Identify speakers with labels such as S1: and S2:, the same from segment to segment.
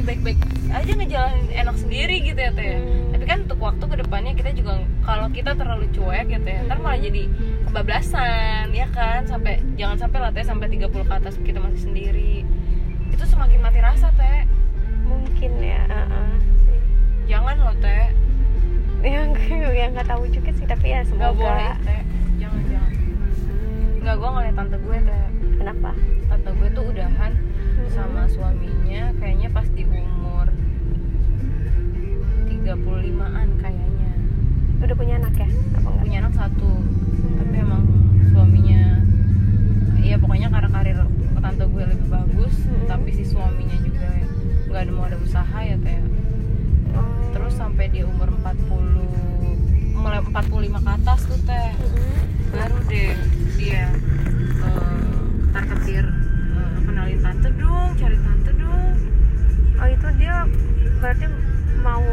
S1: Iya,
S2: aja ngejalanin enak sendiri gitu ya teh
S1: Hmm.
S2: tapi kan untuk waktu kedepannya kita juga kalau kita terlalu cuek gitu ya ntar malah jadi kebablasan ya kan sampai jangan sampai lah teh sampai 30 ke atas kita masih sendiri itu semakin mati rasa teh
S1: mungkin ya uh-uh.
S2: jangan loh teh
S1: yang yang nggak tahu juga sih tapi ya
S2: nggak
S1: semoga
S2: boleh teh jangan jangan nggak gue ngeliat tante gue teh
S1: kenapa
S2: tante gue tuh udahan sama suaminya kayaknya pas di umur 35-an kayaknya
S1: udah punya anak ya apa enggak
S2: punya anak satu tapi emang suaminya ya pokoknya karena karir tante gue lebih bagus
S1: Mhm.
S2: tapi si suaminya juga nggak ada mau ada usaha ya teh terus sampai dia umur 40 mulai 45 ke atas tuh teh baru deh dia eh, terketir eh, kenalin tante dong cari tante dong
S1: oh itu dia berarti mau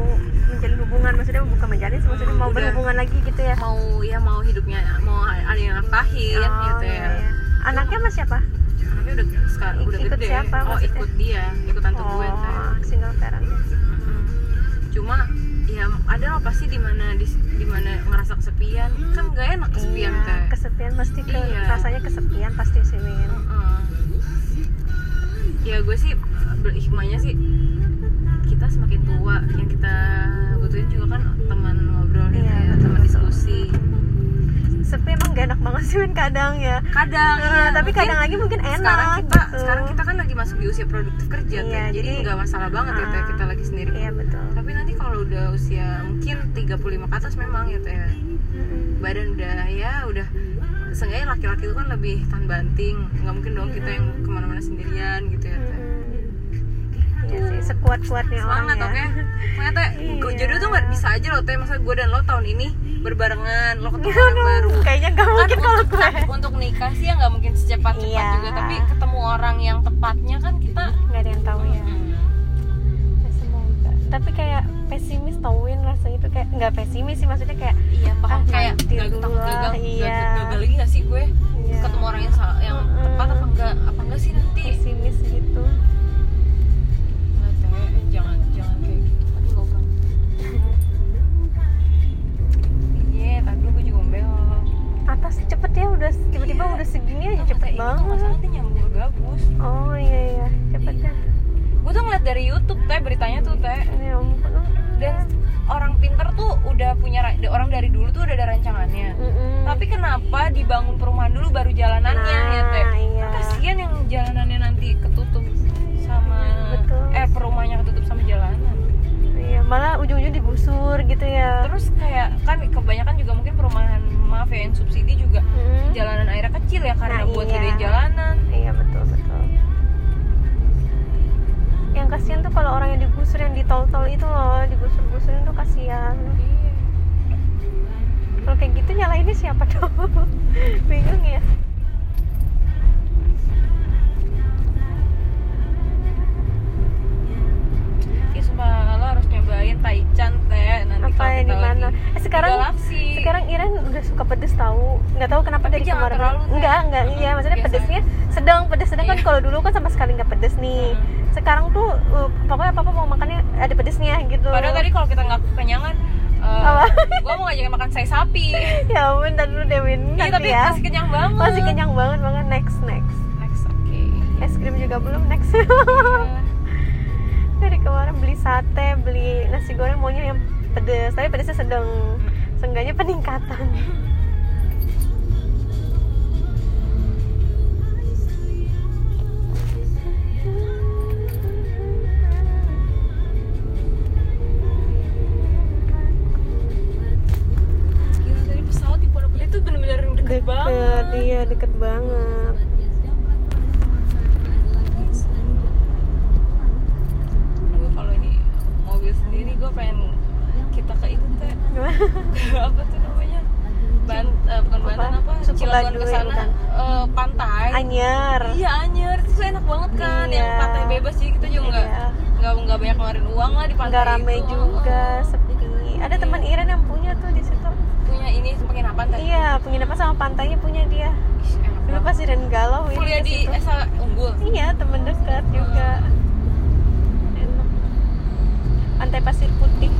S1: menjalin hubungan maksudnya bukan menjalin sih, maksudnya mau
S2: Udah.
S1: berhubungan lagi gitu ya
S2: mau ya mau hidupnya mau ada yang nafkahin gitu
S1: iya,
S2: ya
S1: iya. anaknya mas siapa
S2: tapi udah sekarang udah
S1: Ikut
S2: gede
S1: siapa
S2: oh
S1: maksudnya?
S2: ikut dia ikut tante gue teh
S1: oh single parent
S2: Mm-mm. cuma ya ada lah pasti di mana di, di mana ngerasa kesepian kan gak enak kesepian
S1: Iya,
S2: teh
S1: kesepian pasti ke,
S2: Iya.
S1: rasanya kesepian pasti sih Min.
S2: Mm-mm. ya gue sih bel- hikmahnya sih kita semakin tua yang kita butuhin juga kan teman ngobrol nih
S1: Iya,
S2: Teh,
S1: betul,
S2: teman
S1: betul.
S2: diskusi
S1: sepi emang gak enak banget sih Min kadang ya
S2: kadang
S1: Eh,
S2: iya,
S1: tapi
S2: mungkin
S1: kadang lagi mungkin enak
S2: sekarang kita
S1: gitu.
S2: sekarang kita kan lagi masuk di usia produktif kerja
S1: Iya,
S2: Teh. jadi
S1: jadi-
S2: nggak masalah banget ya Teh,
S1: Ah.
S2: kita lagi sendiri
S1: iya betul
S2: tapi nanti kalau udah usia mungkin 35 ke atas memang gitu ya badan udah ya udah seenggaknya laki-laki itu kan lebih tahan banting nggak mungkin dong kita yang kemana-mana sendirian gitu ya Teh.
S1: Iya sih, sekuat-kuatnya orang
S2: semangat
S1: ya.
S2: oke pokoknya Teh, gu-
S1: Iya.
S2: jodoh tuh nggak bisa aja loh teh masa gue dan lo tahun ini berbarengan lo ketemu orang baru
S1: Kayaknya gak
S2: Kan
S1: mungkin kalau
S2: untuk,
S1: gue.
S2: untuk nikah sih ya nggak mungkin secepat cepat
S1: Iya.
S2: juga tapi ketemu orang yang tepatnya kan kita
S1: Gak ada yang tahu ya.
S2: Mm.
S1: Ya, Semoga. Tapi kayak pesimis tauin rasanya tuh kayak nggak pesimis sih maksudnya kayak
S2: iya paham
S1: Ah,
S2: kayak
S1: nanti
S2: gagal
S1: dulu lah,
S2: gagal
S1: iya.
S2: gagal gagal lagi nggak sih gue
S1: Iya.
S2: ketemu orang yang salah, yang
S1: Mm-mm.
S2: tepat apa enggak apa enggak sih nanti
S1: pesimis gitu.
S2: Nggak, Teh. jangan jangan kayak gitu aduh goblok iya tadi gue juga ngomel
S1: Atas cepet ya udah
S2: Iya.
S1: tiba-tiba
S2: gitu,
S1: udah segini aja Eh, cepet banget.
S2: masalah tuh nyambung ke gabus
S1: Oh iya iya cepet ya.
S2: gue tuh ngeliat dari YouTube teh beritanya tuh teh
S1: Ya ampun.
S2: dan orang pinter tuh udah punya ra- orang dari dulu tuh udah ada rancangannya
S1: Mm-mm.
S2: tapi kenapa dibangun perumahan dulu baru jalanannya ya teh
S1: Nah, iya.
S2: Kan kasihan yang jalanannya nanti ketutup sama
S1: Betul.
S2: eh perumahnya ketutup sama jalanan
S1: Iya, malah ujung-ujung digusur gitu ya.
S2: terus kayak kan kebanyakan juga mungkin perumahan maaf ya yang subsidi juga
S1: Mm.
S2: jalanan airnya kecil ya karena
S1: Nah,
S2: buat
S1: iya.
S2: gedein jalanan
S1: Iya betul betul. Yang kasihan tuh kalau orang yang digusur yang di tol-tol itu loh, digusur-gusurin tuh kasihan.
S2: Iya.
S1: Kalau kayak gitu nyalainnya siapa dong? Bingung ya.
S2: Iya, sumpah lo harus nyobain Taichan teh nanti
S1: Apa
S2: kalau
S1: yang
S2: Gitu, kita
S1: di mana?
S2: lagi
S1: Eh, sekarang
S2: di galaksi
S1: sekarang Iren udah suka pedes tahu. Nggak tahu kenapa
S2: Tapi
S1: dari
S2: jangan
S1: kemarin.
S2: terlalu, Teh.
S1: Enggak, enggak. Iya, maksudnya
S2: Biasa.
S1: pedesnya sedang, pedes sedang kan
S2: Iya.
S1: kalau dulu kan sama sekali nggak pedes nih.
S2: Hmm.
S1: Sekarang tuh uh, pokoknya apa-apa mau makannya ada pedesnya gitu.
S2: padahal tadi kalau kita nggak kekenyangan
S1: Apa?
S2: gue mau ngajakin makan say sapi iya
S1: ya ampun, tadi dulu Dewin. Nanti
S2: tapi
S1: ya.
S2: masih kenyang banget
S1: Masih kenyang banget banget next next.
S2: next oke Iya.
S1: Es krim juga belum next. Dari kemarin beli sate, beli nasi goreng maunya yang pedes, tapi pedesnya sedang. Seenggaknya peningkatan.
S2: Gila dari pesawat di Pondok Gede tuh bener-bener deket, banget.
S1: iya deket banget.
S2: Gue kalau ini mobil sendiri gue pengen kita ke itu teh apa tuh namanya? Ban, eh, bukan
S1: Apa?
S2: Banten apa?
S1: Suku
S2: Cilegon ke
S1: Baduy,
S2: sana
S1: bukan.
S2: eh, pantai.
S1: Anyer.
S2: Iya Anyer itu enak banget kan yang
S1: Iya.
S2: pantai bebas jadi kita juga nggak
S1: Iya.
S2: nggak nggak banyak ngeluarin uang lah di pantai
S1: Nggak rame
S2: itu. Iya.
S1: juga,
S2: Oh, oh.
S1: sepi. Ada teman Iren yang punya tuh di situ.
S2: Eh, punya ini penginapan teh.
S1: Iya, penginapan sama pantainya punya dia.
S2: Ih, enak
S1: Dulu
S2: banget.
S1: pas Iren galau Iren
S2: Kuliah
S1: ke
S2: di eh. Oh.
S1: situ.
S2: Esa Unggul.
S1: Iya, temen dekat juga. Enak. pantai pasir putih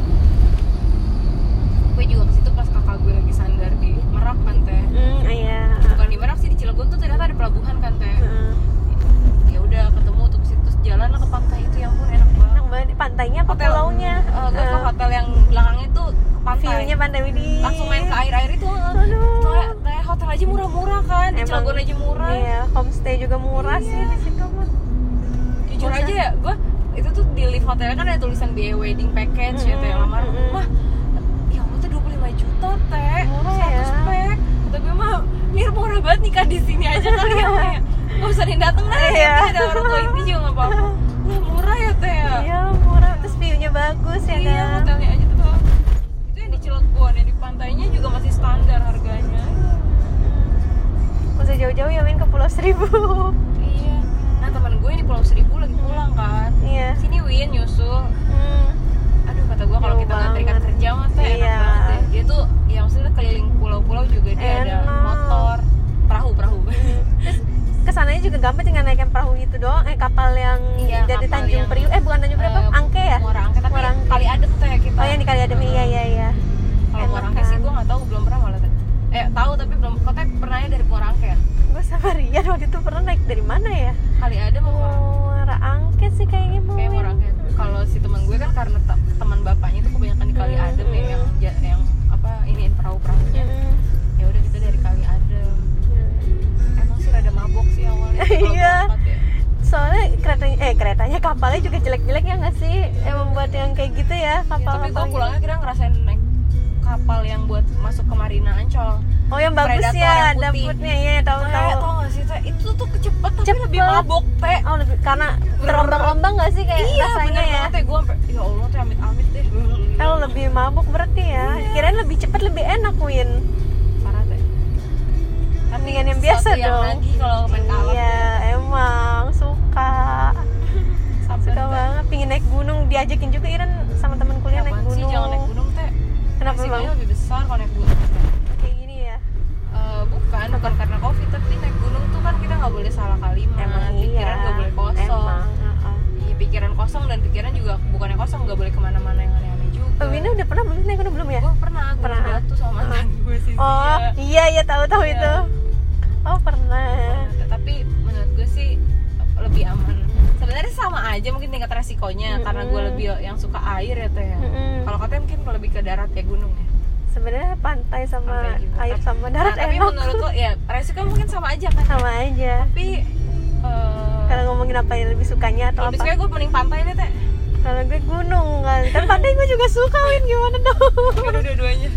S2: gue juga ke situ pas kakak gue lagi sandar di Merak kan teh
S1: hmm iya
S2: bukan di Merak sih di Cilegon tuh ternyata ada pelabuhan kan teh
S1: Heeh.
S2: ya udah ketemu tuh ke situ terus jalan lah ke pantai itu yang pun enak banget
S1: enak banget pantainya apa
S2: Hotel.
S1: pulaunya
S2: Eh, gue ke
S1: Heeh.
S2: hotel yang belakangnya tuh ke pantai
S1: view-nya pantai widih
S2: langsung main ke air-air itu eh.
S1: Aduh.
S2: Soalnya kayak hotel aja murah-murah kan di
S1: Emang-
S2: Cilegon aja murah
S1: iya homestay juga murah sih
S2: Iya.
S1: di situ mah
S2: jujur
S1: Murah.
S2: aja ya gue itu tuh di lift hotelnya kan ada tulisan biaya wedding package ya teh
S1: Mm-mm,
S2: lamar
S1: mm-mm.
S2: mah ya Allah tuh 25 juta teh
S1: Murah
S2: 100
S1: ya.
S2: pack kata gue mah mir murah banget nikah di sini aja kali ya Teh. nggak usah nih dateng deh
S1: Iya.
S2: nanti ada orang tua ini juga nggak apa-apa lah murah ya teh ya
S1: iya murah terus view-nya bagus ya
S2: Iya,
S1: kan
S2: hotelnya aja tuh itu yang di Cilegon yang di pantainya juga masih standar harganya
S1: Nggak usah jauh-jauh ya main ke Pulau Seribu
S2: iya nah teman gue yang di Pulau Seribu lagi pulang kan
S1: iya
S2: sini Win nyusul
S1: Hmm.
S2: aduh kata gue kalau
S1: Jauh
S2: kita nggak terikat
S1: banget.
S2: kerja mah teh enak
S1: Iya.
S2: banget deh dia tuh ya maksudnya keliling pulau-pulau juga dia ada
S1: Enak.
S2: motor perahu perahu
S1: Terus kesananya juga gampang tinggal naik yang perahu itu doang eh kapal yang
S2: Iya,
S1: dari
S2: kapal
S1: Tanjung
S2: yang,
S1: Priuk eh bukan Tanjung Priuk apa
S2: eh,
S1: Angke ya
S2: Muara Angke tapi
S1: Muara Angke.
S2: kali adem tuh ya kita
S1: oh yang di kali adem iya kan? iya iya
S2: kalau Muara Angke sih gue nggak tahu belum pernah malah Teh. eh tahu tapi belum kau teh pernahnya dari Muara Angke ya
S1: gue sama Rian waktu itu pernah naik dari mana ya
S2: kali adem mau Muara Angke.
S1: Muara Angke sih kayaknya mau
S2: kayak Muara Angke kalau si teman gue kan karena te- teman bapaknya itu kebanyakan di kali
S1: Hmm,
S2: adem ya
S1: hmm.
S2: yang ja- yang apa iniin perahu perahunya ya udah kita dari kali adem emang sih rada mabok sih awalnya kalau
S1: Iya.
S2: berangkat ya.
S1: soalnya keretanya eh keretanya kapalnya juga jelek-jelek ya nggak sih emang buat yang kayak gitu ya
S2: Ya,
S1: kapal
S2: tapi gue pulangnya kira ngerasain naik kapal yang buat masuk ke Marina Ancol.
S1: oh yang bagus
S2: Predator yang
S1: ya ada
S2: putih.
S1: putnya ya tahu
S2: Tau
S1: tahu
S2: tau gak sih teh? Itu tuh kecepet tapi
S1: Cepet.
S2: lebih mabok teh.
S1: oh lebih karena terombang-ambang nggak sih kayak
S2: Iya
S1: rasanya
S2: bener
S1: ya
S2: banget teh gue sampai ya Allah tuh amit-amit deh.
S1: kalau lebih mabuk berarti ya
S2: Iya.
S1: kirain lebih cepet lebih enak Win
S2: parah teh. Tapi
S1: Mendingan yang biasa
S2: sesuatu yang
S1: dong.
S2: lagi kalau main kalap
S1: iya emang suka
S2: sampai
S1: suka banget pingin naik gunung diajakin juga Iren sama teman kuliah naik
S2: sih
S1: gunung
S2: jangan naik gunung teh.
S1: kenapa
S2: Resikonya
S1: bang
S2: lebih besar kalau naik gunung. Teh.
S1: kayak gini ya
S2: Eh, bukan bukan karena covid tapi naik gunung tuh kan kita nggak boleh salah kalimat
S1: emang iya
S2: pikiran Nah, nggak boleh kosong
S1: emang uh-uh.
S2: Iya pikiran kosong dan pikiran juga bukannya kosong nggak boleh kemana-mana yang aneh-aneh juga.
S1: Oh, Wina udah pernah belum naik gunung belum ya
S2: Gue pernah gue
S1: Pernah.
S2: batu sama mantan gue sih.
S1: oh
S2: Zia.
S1: iya iya tahu tahu
S2: Iya.
S1: itu oh pernah
S2: Pernah, Nah, Tapi menurut gue sih lebih aman. Sebenarnya sama aja mungkin tingkat resikonya
S1: Mm-mm.
S2: karena gue lebih yang suka air ya teh. ya.
S1: Mm-mm.
S2: Kalau katanya mungkin kalau lebih ke darat ya gunung ya.
S1: sebenarnya pantai sama
S2: Pantai juga.
S1: air sama darat
S2: Nah, tapi
S1: enak
S2: menurut lo ya resiko mungkin sama aja kan.
S1: sama aja
S2: Tapi eh,
S1: kalau ngomongin apa yang lebih sukanya atau
S2: lebih
S1: apa
S2: suka gue mending pantai deh teh.
S1: kalau gue gunung kan tapi pantai gue juga suka Win gimana dong
S2: Udah dua-duanya.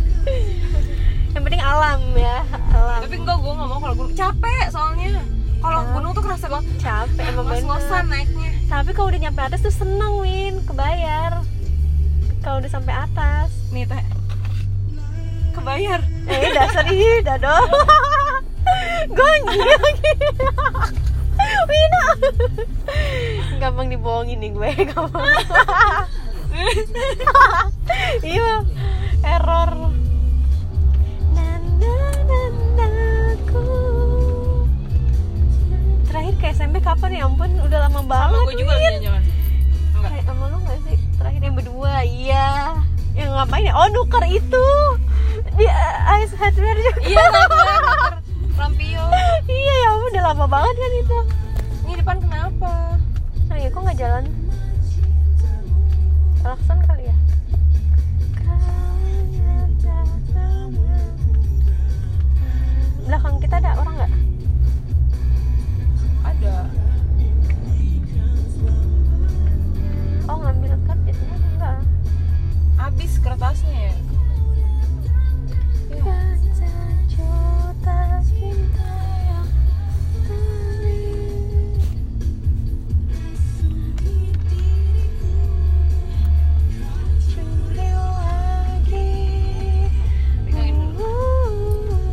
S1: yang penting alam ya alam
S2: Tapi enggak gue nggak mau kalau gunung capek soalnya. Kalau
S1: Ya.
S2: gunung tuh kerasa banget
S1: capek emang
S2: Mas
S1: bener
S2: ngosan naiknya
S1: tapi kalau udah nyampe atas tuh seneng Win kebayar kalau udah sampai atas
S2: nih teh kebayar
S1: eh dasar ih dado gonjil lagi Wina gampang dibohongin nih gue gampang iya error na, na, na, na, ku. terakhir ke SMP kapan ya ampun udah lama
S2: sama
S1: banget
S2: gue juga
S1: Win.
S2: lagi jangan enggak
S1: Kayak sama lu gak sih? Terakhir yang berdua, iya Yang ngapain ya? Oh nuker itu Di uh, Ice Hardware juga
S2: iya dokter lampio
S1: Iya ya ampun, udah lama banget kan itu
S2: ini depan kenapa
S1: Oh iya kok gak jalan? Alaksan kali ya? Belakang kita ada orang gak?
S2: ada
S1: Oh ngambil kartu enggak
S2: habis kertasnya ya Iya.
S1: Nah,
S2: Pegangin dulu.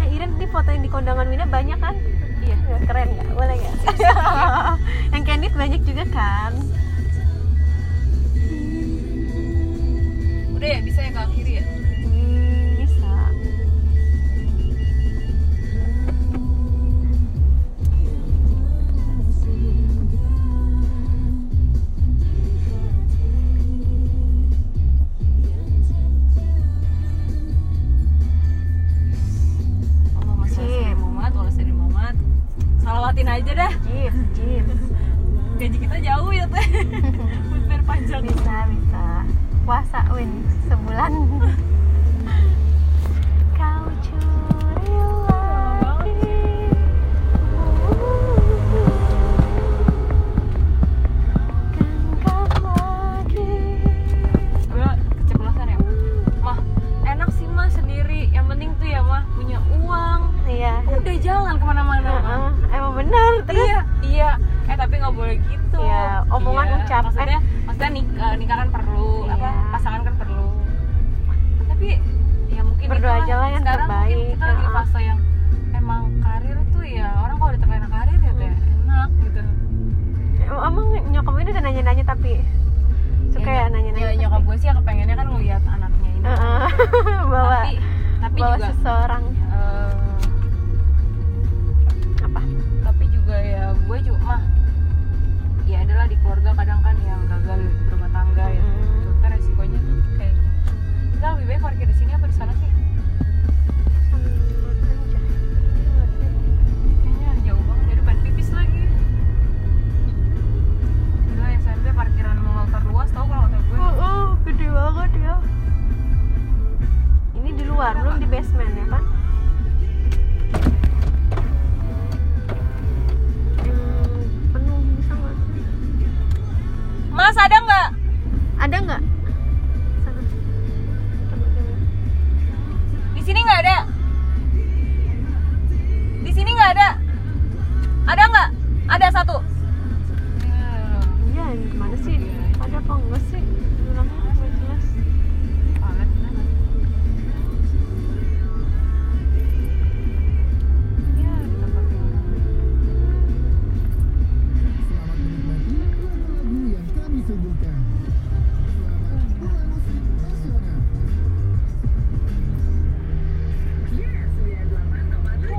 S1: Eh, Iren, ini foto yang di kondangan Wina banyak kan? Iya, keren nggak? Boleh nggak? yang candid banyak juga kan?
S2: udah ya bisa ya ke kiri ya
S1: Hmm, bisa.
S2: Oh, ya,
S1: Hmm.
S2: bisa
S1: bisa bisa puasa win sebulan kau curi lagi genggam lagi
S2: gue keceplosan ya mah enak sih mah sendiri yang penting tuh ya mah punya uang
S1: iya
S2: udah jalan kemana-mana Ma.
S1: Heeh, emang benar terus
S2: iya iya eh tapi nggak boleh gitu
S1: Iya, omongan ucap.
S2: maksudnya maksudnya nik eh, nikah kan perlu
S1: Iya.
S2: apa pasangan kan perlu tapi ya mungkin
S1: Berdoa
S2: itulah.
S1: aja lah yang
S2: sekarang mungkin
S1: terbaik.
S2: kita lagi di
S1: Heeh.
S2: fase yang emang karir tuh ya orang kalau udah terlena karir ya teh
S1: Hmm.
S2: enak gitu
S1: emang nyokap ini udah nanya-nanya tapi suka
S2: nyok-
S1: ya, nanya-nanya
S2: ya,
S1: tapi.
S2: nyokap gue sih yang kepengennya kan ngeliat anaknya ini
S1: Heeh. bawa
S2: tapi tapi
S1: bawa
S2: juga
S1: seseorang
S2: eh,
S1: apa
S2: tapi juga ya gue juga mah ya adalah di keluarga kadang kan yang gagal berumah tangga ya
S1: Mm.
S2: itu kan resikonya tuh kayak gitu. kita lebih baik parkir di sini apa di sana sih kayaknya jauh banget ya depan pipis lagi gila SMP parkiran mall terluas tau kalau kata gue
S1: Oh, oh, gede banget ya. Ini di luar, belum di basement ya, Pak? Hmm, penuh bisa nggak?
S2: mas ada nggak
S1: Ada nggak? Sana.
S2: di sini nggak ada di sini nggak ada ada nggak ada satu
S1: Iya, yang gimana sih? Ada apa enggak sih? Bilangnya nggak jelas.
S2: Ya, tempat yang-
S3: Selamat menikmati dua lagu yang kami suguhkan. Selamat dua musik nasional.
S2: Waduh.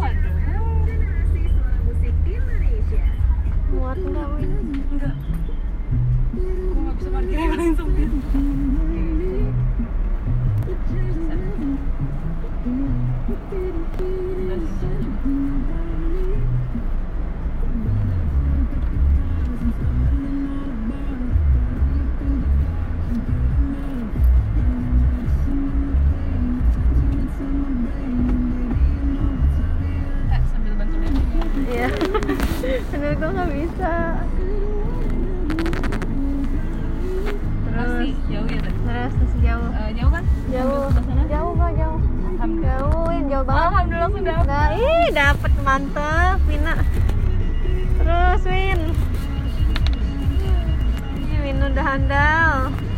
S1: Muat nggak, Win?
S2: Enggak. Gue nggak bisa parkir yang paling sempit. Eh, sambil bantu dia.
S1: Iya. Bener gue nggak bisa.
S2: Terus sih, jauh ya tadi.
S1: Terus terus jauh.
S2: Eh, jauh kan?
S1: Jauh. Jauh kok jauh.
S2: Alhamdulillah.
S1: Jauh, Win, jauh banget.
S2: Alhamdulillah sudah.
S1: Nah, ih dapat mantep, Vina. Terus Win. Ih, Win udah handal. Iya,